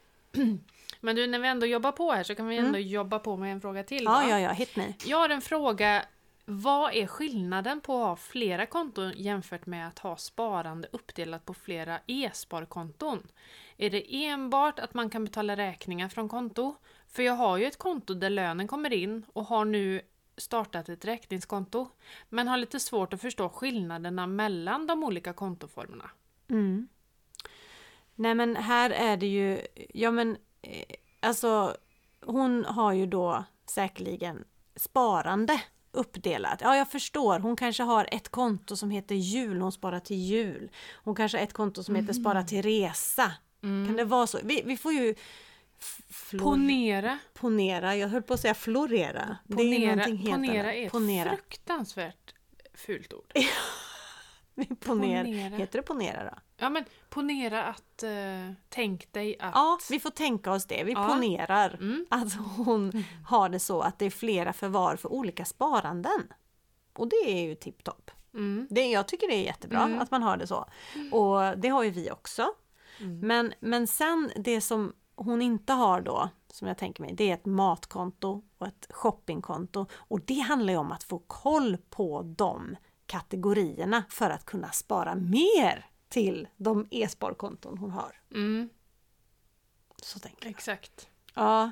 A: Men du, när vi ändå jobbar på här så kan vi ändå jobba på med en fråga till.
B: Mm. Ja,
A: va?
B: ja, ja, hit me.
A: Jag har en fråga. Vad är skillnaden på att ha flera konton jämfört med att ha sparande uppdelat på flera e-sparkonton? Är det enbart att man kan betala räkningar från konto? För jag har ju ett konto där lönen kommer in och har nu startat ett räkningskonto. Men har lite svårt att förstå skillnaderna mellan de olika kontoformerna.
B: Mm. Nej men här är det ju, ja men eh, alltså hon har ju då säkerligen sparande uppdelat. Ja jag förstår, hon kanske har ett konto som heter jul, hon sparar till jul. Hon kanske har ett konto som heter spara
A: Mm.
B: till resa. Kan det vara så? Vi, vi får ju f- flor-
A: Ponera,
B: ponera, jag höll på att säga florera. det är ju
A: ponera,
B: någonting helt
A: ponera
B: annat.
A: är ett
B: ponera. Eh.
A: fruktansvärt fult ord.
B: Vi ponerar.
A: Ponera.
B: Heter det ponera då?
A: Ja men ponera att, eh, tänk dig att...
B: Ja, vi får tänka oss det. Vi
A: Ja.
B: ponerar
A: Mm.
B: att hon har det så att det är flera förvar för olika sparanden. Och det är ju tipptopp.
A: Mm.
B: Det- Jag tycker det är jättebra att man har det så. Och det har ju vi också.
A: Mm.
B: Men, men sen det som hon inte har då, som jag tänker mig, det är ett matkonto och ett shoppingkonto. Och det handlar ju om att få koll på de kategorierna för att kunna spara mer till de e-sparkonton hon har.
A: Mm,
B: Så tänker jag.
A: exakt.
B: Ja,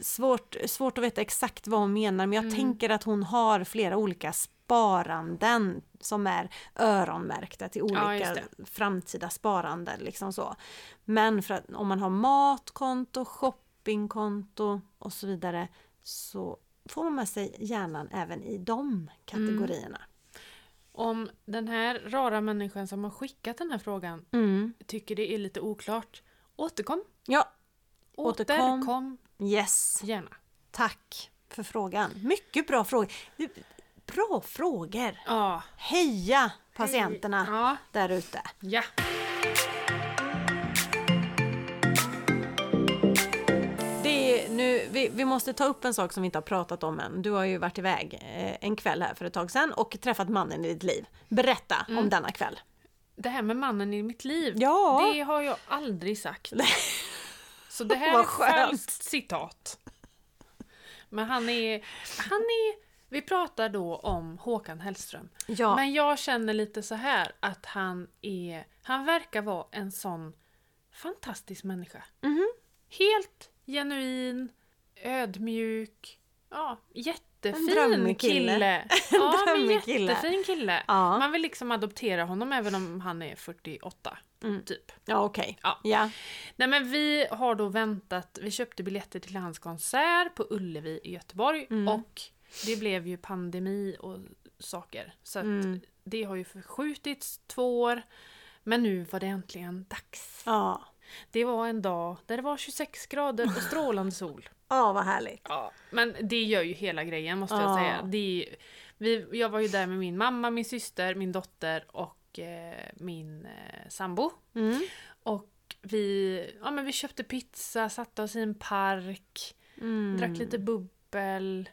B: svårt, svårt att veta exakt vad hon menar men jag
A: Mm.
B: tänker att hon har flera olika sparanden som är öronmärkta till
A: Ja,
B: olika
A: just det.
B: framtida sparanden. Liksom så. Men för att, om man har matkonto, shoppingkonto och så vidare så får man med sig hjärnan även i de kategorierna.
A: Om den här rara människan som har skickat den här frågan
B: Mm.
A: tycker det är lite oklart, återkom.
B: Ja,
A: Återkom,
B: Återkom. yes.
A: gärna.
B: Tack för frågan. Mycket bra frågor. Bra frågor!
A: Ja.
B: Heja patienterna
A: Ja.
B: där ute.
A: ja.
B: Det är nu, vi, vi måste ta upp en sak som vi inte har pratat om än. Du har ju varit iväg eh, en kväll här för ett tag sedan och träffat mannen i ditt liv. Berätta om denna kväll.
A: Det här med mannen i mitt liv,
B: Ja.
A: det har jag aldrig sagt. Så det här är
B: Vad
A: ett
B: skönt.
A: falskt citat. Men han är, han är... Vi pratar då om Håkan Hellström.
B: Ja.
A: Men jag känner lite så här att han är... Han verkar vara en sån fantastisk människa.
B: Mhm.
A: Helt genuin, ödmjuk, ja, jättefin
B: En drömmig kille.
A: kille. Ja, men
B: drömmig kille.
A: jättefin kille.
B: Ja.
A: Man vill liksom adoptera honom även om han är 48,
B: Mm.
A: typ.
B: Ja, okej.
A: Ja.
B: Ja.
A: Nej men vi har då väntat, vi köpte biljetter till hans konsert på Ullevi i Göteborg
B: Mm.
A: och det blev ju pandemi och saker. Så att
B: Mm.
A: det har ju förskjutits två år. Men nu var det äntligen dags.
B: Ja.
A: Det var en dag där det var 26 grader och strålande sol.
B: ja, vad härligt.
A: Ja, men det gör ju hela grejen måste
B: Ja.
A: jag säga. Det är, vi, jag var ju där med min mamma, min syster, min dotter och eh, min eh, sambo.
B: Mm.
A: Och vi, ja, men vi köpte pizza, satte oss i en park, drack lite bubbel.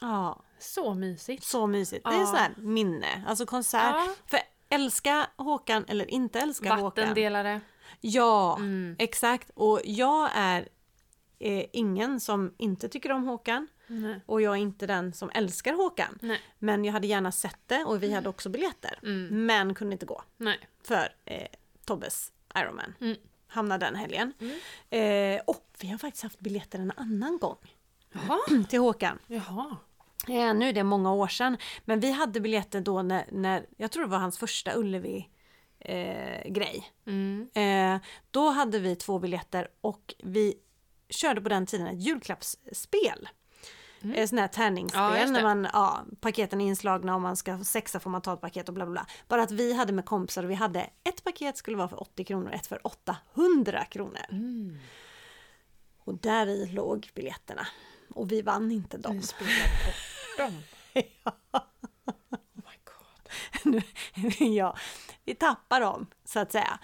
B: Ja,
A: Så mysigt.
B: så mysigt. Det är
A: Ja.
B: så här minne, alltså konsert.
A: Ja.
B: För älska Håkan eller inte älska Håkan.
A: Vattendelare.
B: Ja,
A: Mm.
B: exakt. Och jag är eh, ingen som inte tycker om Håkan.
A: Nej.
B: Och jag är inte den som älskar Håkan.
A: Nej.
B: Men jag hade gärna sett det och vi
A: Mm.
B: hade också biljetter. Men kunde inte gå
A: Nej.
B: för eh, Tobbes Ironman.
A: Mm.
B: Hamnade den helgen. Eh, och vi har faktiskt haft biljetter en annan gång
A: Jaha.
B: till Håkan.
A: Jaha.
B: Eh, nu är det många år sedan. Men vi hade biljetter då när, när jag tror det var hans första eh, Ullevi-grej.
A: Mm.
B: Eh, då hade vi två biljetter och vi körde på den tiden ett julklappsspel. Mm. Sådana här tärningsspel
A: Ja, just det.
B: när man, ja, paketen är inslagna och man ska sexa får man ta ett paket och bla bla bla. Bara att vi hade med kompisar och vi hade ett paket skulle vara för 80 kronor och ett för 800 kronor.
A: Mm.
B: Och där i låg biljetterna. Och vi vann inte dem.
A: Vi spelade bort dem. Oh my god.
B: ja, vi tappar dem så att säga.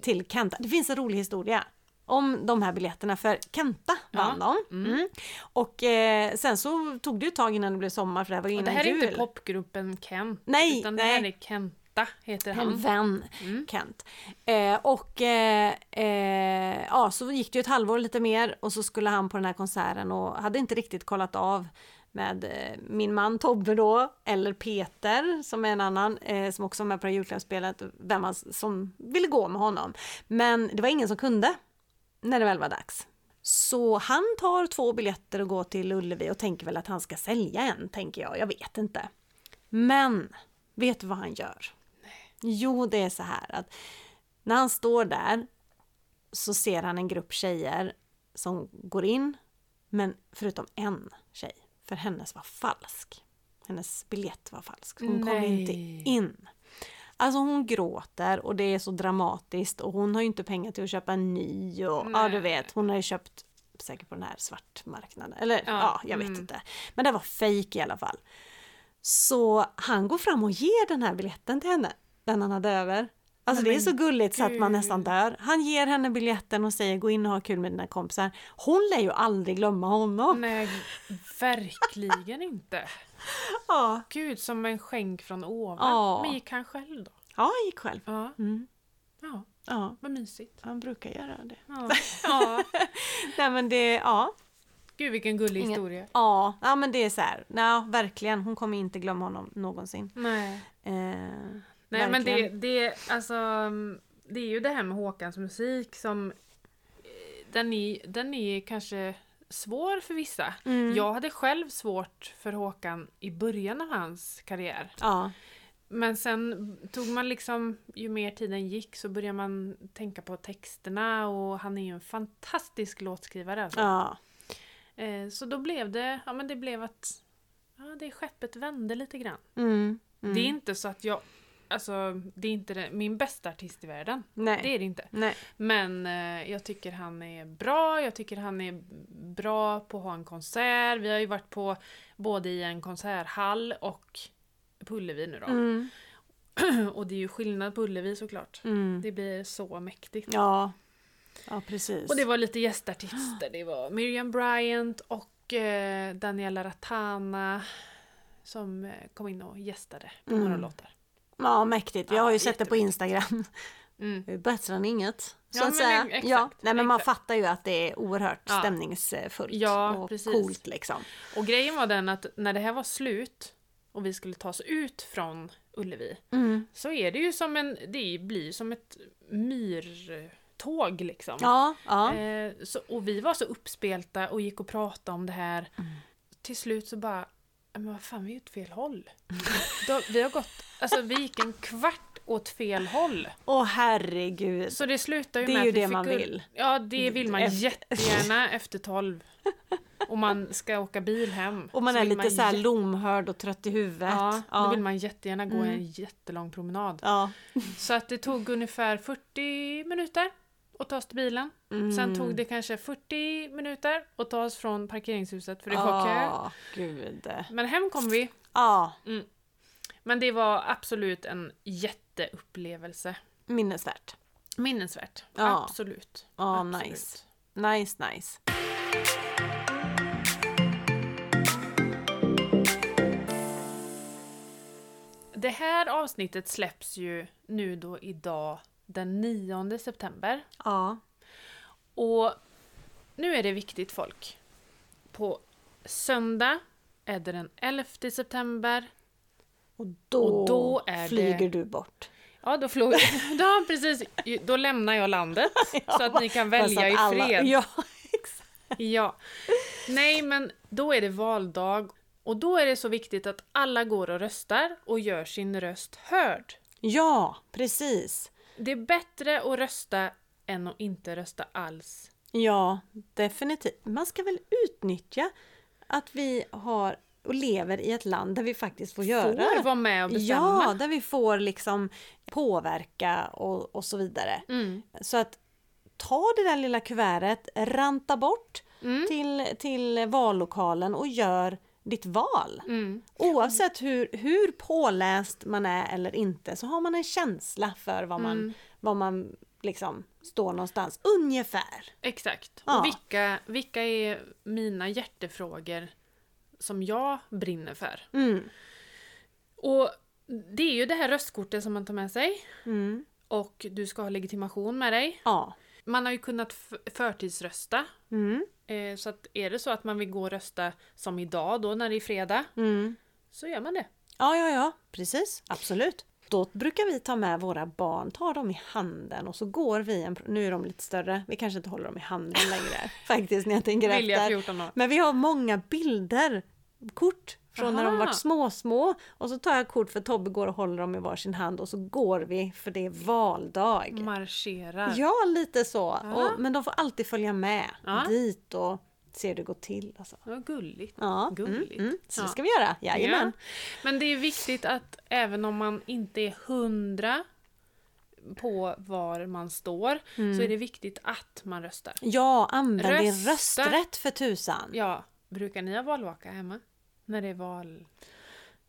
B: Till Kenta. Det finns en rolig historia om de här biljetterna för Kenta vann dem. Mm. Och eh, sen så tog det ju ett tag innan det blev sommar för det här var ju
A: Och
B: innan
A: det här är
B: jul.
A: inte popgruppen Kent.
B: Nej,
A: utan
B: nej.
A: det här är Kenta, heter
B: En
A: han.
B: vän, Kent. Eh, och eh, eh, ja, så gick det ju ett halvår lite mer och så skulle han på den här konserten och hade inte riktigt kollat av med eh, min man Tobbe då, eller Peter som är en annan eh, som också var med på det här julklappsspelet, vem han, som ville gå med honom. Men det var ingen som kunde när det väl var dags. Så han tar två biljetter och går till Ullevi och tänker väl att han ska sälja en, tänker jag. Jag vet inte. Men, vet du vad han gör? Jo, det är så här att när han står där så ser han en grupp tjejer som går in, men förutom en tjej, för hennes var falsk. Hennes biljett var falsk. Hon kom
A: Nej.
B: inte in. Alltså hon gråter och det är så dramatiskt och hon har ju inte pengar till att köpa en ny och ja du vet, hon har ju köpt säkert på den här svartmarknaden. Eller ja, jag vet inte. Men det var fejk i alla fall. Så han går fram och ger den här biljetten till henne, den han hade över. Alltså det är så gulligt så att man nästan dör. Han ger henne biljetten och säger gå in och ha kul med dina kompisar. Hon lär ju aldrig glömma honom.
A: Nej, verkligen inte.
B: Ja,
A: Gud, som en skänk från ovan.
B: Ja.
A: Men gick han själv då?
B: ja han gick själv.
A: Ja.
B: Mm.
A: ja,
B: Ja,
A: vad mysigt.
B: han brukar göra det.
A: Ja. ja.
B: Nej men det, ja.
A: Gud, vilken gullig historia.
B: Ja, ja men det är så här. Ja, verkligen. Hon kommer inte glömma honom någonsin.
A: Nej.
B: Eh,
A: Nej men det,
B: verkligen.
A: det, alltså, mm, det är ju det här med Håkans musik som eh, den är, den är kanske svår för vissa. Jag hade själv svårt för Håkan i början av hans karriär.
B: Ja,
A: Men sen tog man liksom, ju mer tiden gick så började man tänka på texterna och han är ju en fantastisk låtskrivare alltså.
B: ja.
A: Eh, Så då blev det, ja men det blev att, ja det skeppet vände lite grann.
B: Mm,
A: Det är inte så att jag, alltså det är inte det, min bästa artist i världen.
B: Nej.
A: Det är det inte.
B: nej.
A: Men eh, jag tycker han är bra, jag tycker han är bra på att ha en konsert. Vi har ju varit på både i en konserthall och på Ullevi nu då.
B: Mm,
A: Och det är ju skillnad på Ullevi såklart.
B: mm.
A: Det blir så mäktigt.
B: Ja. ja, precis.
A: Och det var lite gästartister. Det var Miriam Bryant och eh, Daniela Ratana som eh, kom in och gästade på några låtar.
B: Ja, mäktigt. Jag har ju sett det på Instagram.
A: Mm.
B: Det är Bättre än inget. Så
A: Ja,
B: att
A: men
B: säga.
A: exakt,
B: ja. Nej, men man
A: exakt.
B: fattar ju att det är oerhört
A: Ja.
B: stämningsfullt
A: Ja,
B: och
A: precis.
B: coolt liksom.
A: Och grejen var den att när det här var slut och vi skulle ta oss ut från Ullevi
B: Mm.
A: så är det ju som en, det blir ju som ett myrtåg liksom.
B: Ja, ja.
A: Eh, så, och vi var så uppspelta och gick och pratade om det här.
B: Mm.
A: Till slut så bara, "Ja, men vad fan vi är ju åt fel håll. Då, vi har gått, alltså vi gick en kvart åt fel håll.
B: Åh herregud.
A: Så det slutar ju
B: Det är
A: med
B: ju
A: att vi
B: det
A: fick
B: man
A: ur-
B: vill.
A: Ja, det vill man
B: Efter-
A: jättegärna efter tolv. Och man ska åka bil hem.
B: Och man
A: så
B: är
A: vill
B: lite så här
A: jätte-
B: lomhörd och trött i huvudet.
A: Ja, då
B: ja. Mm.
A: vill man jättegärna gå en jättelång promenad.
B: ja.
A: Så att det tog ungefär 40 minuter att ta oss till bilen. Sen tog det kanske 40 minuter att ta oss från parkeringshuset för det
B: Ah.
A: var kö.
B: Ja, gud.
A: Men hem kom vi.
B: Ja,
A: Men det var absolut en jätteupplevelse.
B: minnesvärt.
A: Minnesvärt.
B: Ja.
A: Absolut.
B: Ja,
A: absolut.
B: Ah, nice. Nice, nice.
A: Det här avsnittet släpps ju nu då idag den 9 september.
B: Ja.
A: Och nu är det viktigt folk. På söndag är det den 11 september.
B: Och då,
A: Och då är
B: flyger
A: det-
B: du bort.
A: Ja, då, flog... ja, precis. då lämnar jag landet så att ni kan
B: Fast
A: välja
B: att
A: i
B: alla-
A: fred.
B: Ja, exakt.
A: Ja. Nej, men då är det valdag och då är det så viktigt att alla går och röstar och gör sin röst hörd.
B: Ja, precis.
A: Det är bättre att rösta än att inte rösta alls.
B: Ja, definitivt. Man ska väl utnyttja att vi har och lever i ett land där vi faktiskt får göra.
A: Får vara med och bestämma.
B: Ja, där vi får liksom påverka och, och så vidare.
A: Mm.
B: Så att ta det där lilla kuvertet, ranta bort
A: Mm.
B: till, till vallokalen och gör ditt val.
A: Mm.
B: Oavsett hur, hur påläst man är eller inte så har man en känsla för vad man,
A: Mm.
B: vad man liksom står någonstans, ungefär.
A: Exakt.
B: Ja.
A: Och vilka, vilka är mina hjärtefrågor som jag brinner för?
B: Mm.
A: Och det är ju det här röstkortet som man tar med sig
B: Mm.
A: och du ska ha legitimation med dig.
B: Ja.
A: Man har ju kunnat f- förtidsrösta.
B: Mm.
A: Eh, så att är det så att man vill gå och rösta som idag då när det är fredag
B: Mm.
A: så gör man det.
B: ja, ja, ja, precis, absolut. Då brukar vi ta med våra barn, ta dem i handen och så går vi en... Nu är de lite större, vi kanske inte håller dem i handen längre faktiskt när jag tänker
A: Vilja
B: efter.
A: 14 år.
B: Men vi har många bilder, kort från när de
A: Aha.
B: varit små, små. Och så tar jag kort för Tobbe går och håller dem i varsin hand och så går vi för det är valdag.
A: Marscherar.
B: Ja, lite så.
A: Ja.
B: Och, men de får alltid följa med
A: Ja.
B: dit och se hur det går till. Alltså.
A: Vad gulligt.
B: Ja,
A: Gulligt.
B: Mm, mm. Så det
A: Ja.
B: ska vi göra, jajamän.
A: Ja. Men det är viktigt att även om man inte är hundra på var man står så
B: Mm.
A: är det viktigt att man röstar.
B: Ja, använd din
A: Rösta.
B: rösträtt för tusan.
A: Ja, brukar ni ha valvaka hemma? När det är val...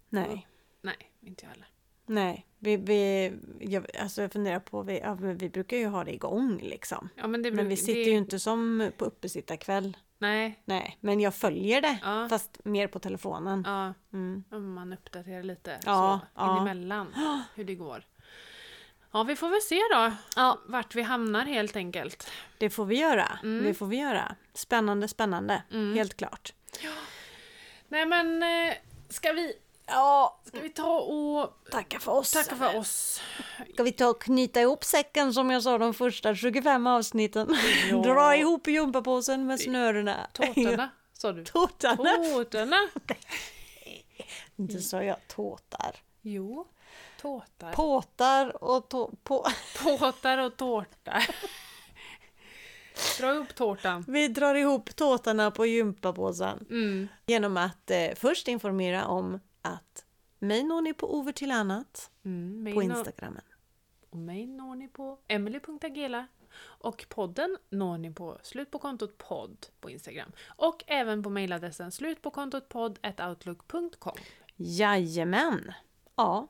B: Nej,
A: Nej, inte jag heller.
B: nej. Vi, vi, jag, alltså jag funderar på, vi, ja, men vi brukar ju ha det igång liksom.
A: Ja, men det
B: Men
A: brukar-
B: vi sitter
A: det...
B: ju inte som på uppesittarkväll.
A: Nej,
B: Nej, men jag följer det.
A: Ja.
B: Fast mer på telefonen.
A: ja.
B: Mm.
A: Om man uppdaterar lite
B: Ja,
A: så,
B: ja.
A: inemellan hur det går. Ja, vi får väl se då
B: Ja.
A: vart vi hamnar helt enkelt.
B: Det får vi göra.
A: Mm.
B: Det får vi göra. Spännande, spännande. Helt klart.
A: Nej men, eh, ska vi,
B: Ja,
A: ska vi ta och
B: tacka för oss.
A: tacka för oss?
B: Ska vi ta och knyta ihop säcken som jag sa de första 25 avsnitten?
A: Ja.
B: Dra ihop gympapåsen med snörena.
A: Tårtorna, sa du?
B: Tårtarna.
A: Tårtorna!
B: Inte sa jag tåtar.
A: Jo, tåtar.
B: Påtar och tå... På.
A: Påtar och tårta. Dra upp tårtan.
B: Vi drar ihop tåtarna på gympapåsen.
A: Mm.
B: Genom att eh, först informera om att mig når ni på Over till annat
A: Mm, mig
B: på
A: nå-
B: Instagramen.
A: Och mig når ni på emily.agela. Och podden når ni på slutpåkontot podd på Instagram. Och även på mejladressen slutpåkontotpodd.outlook.com.
B: Jajamän! Ja,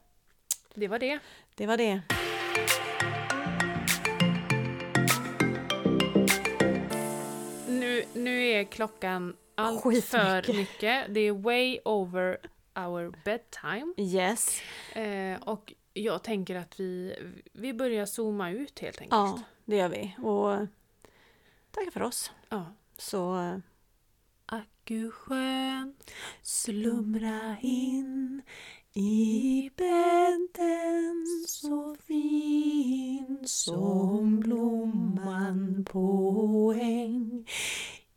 A: Det var det.
B: det var det.
A: Nu, nu är klockan allt
B: Skitmycket.
A: för mycket. Det är way over our bedtime.
B: Yes.
A: Eh, och jag tänker att vi, vi börjar zooma ut helt enkelt.
B: Ja, det gör vi. Och tack för oss.
A: Ja.
B: Så eh,
A: Ack du skön
B: Ah, slumra in i bädden så fin som blomman på äng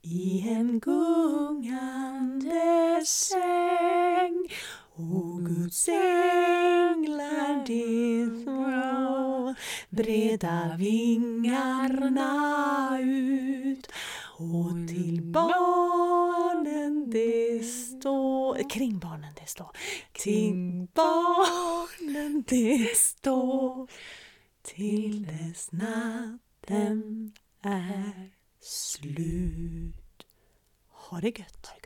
B: i en gungande säng och Guds änglar de små breda vingarna ut och till barnen det står kring barnen det står till barnen det står till dess natten är slut. Ha det gött.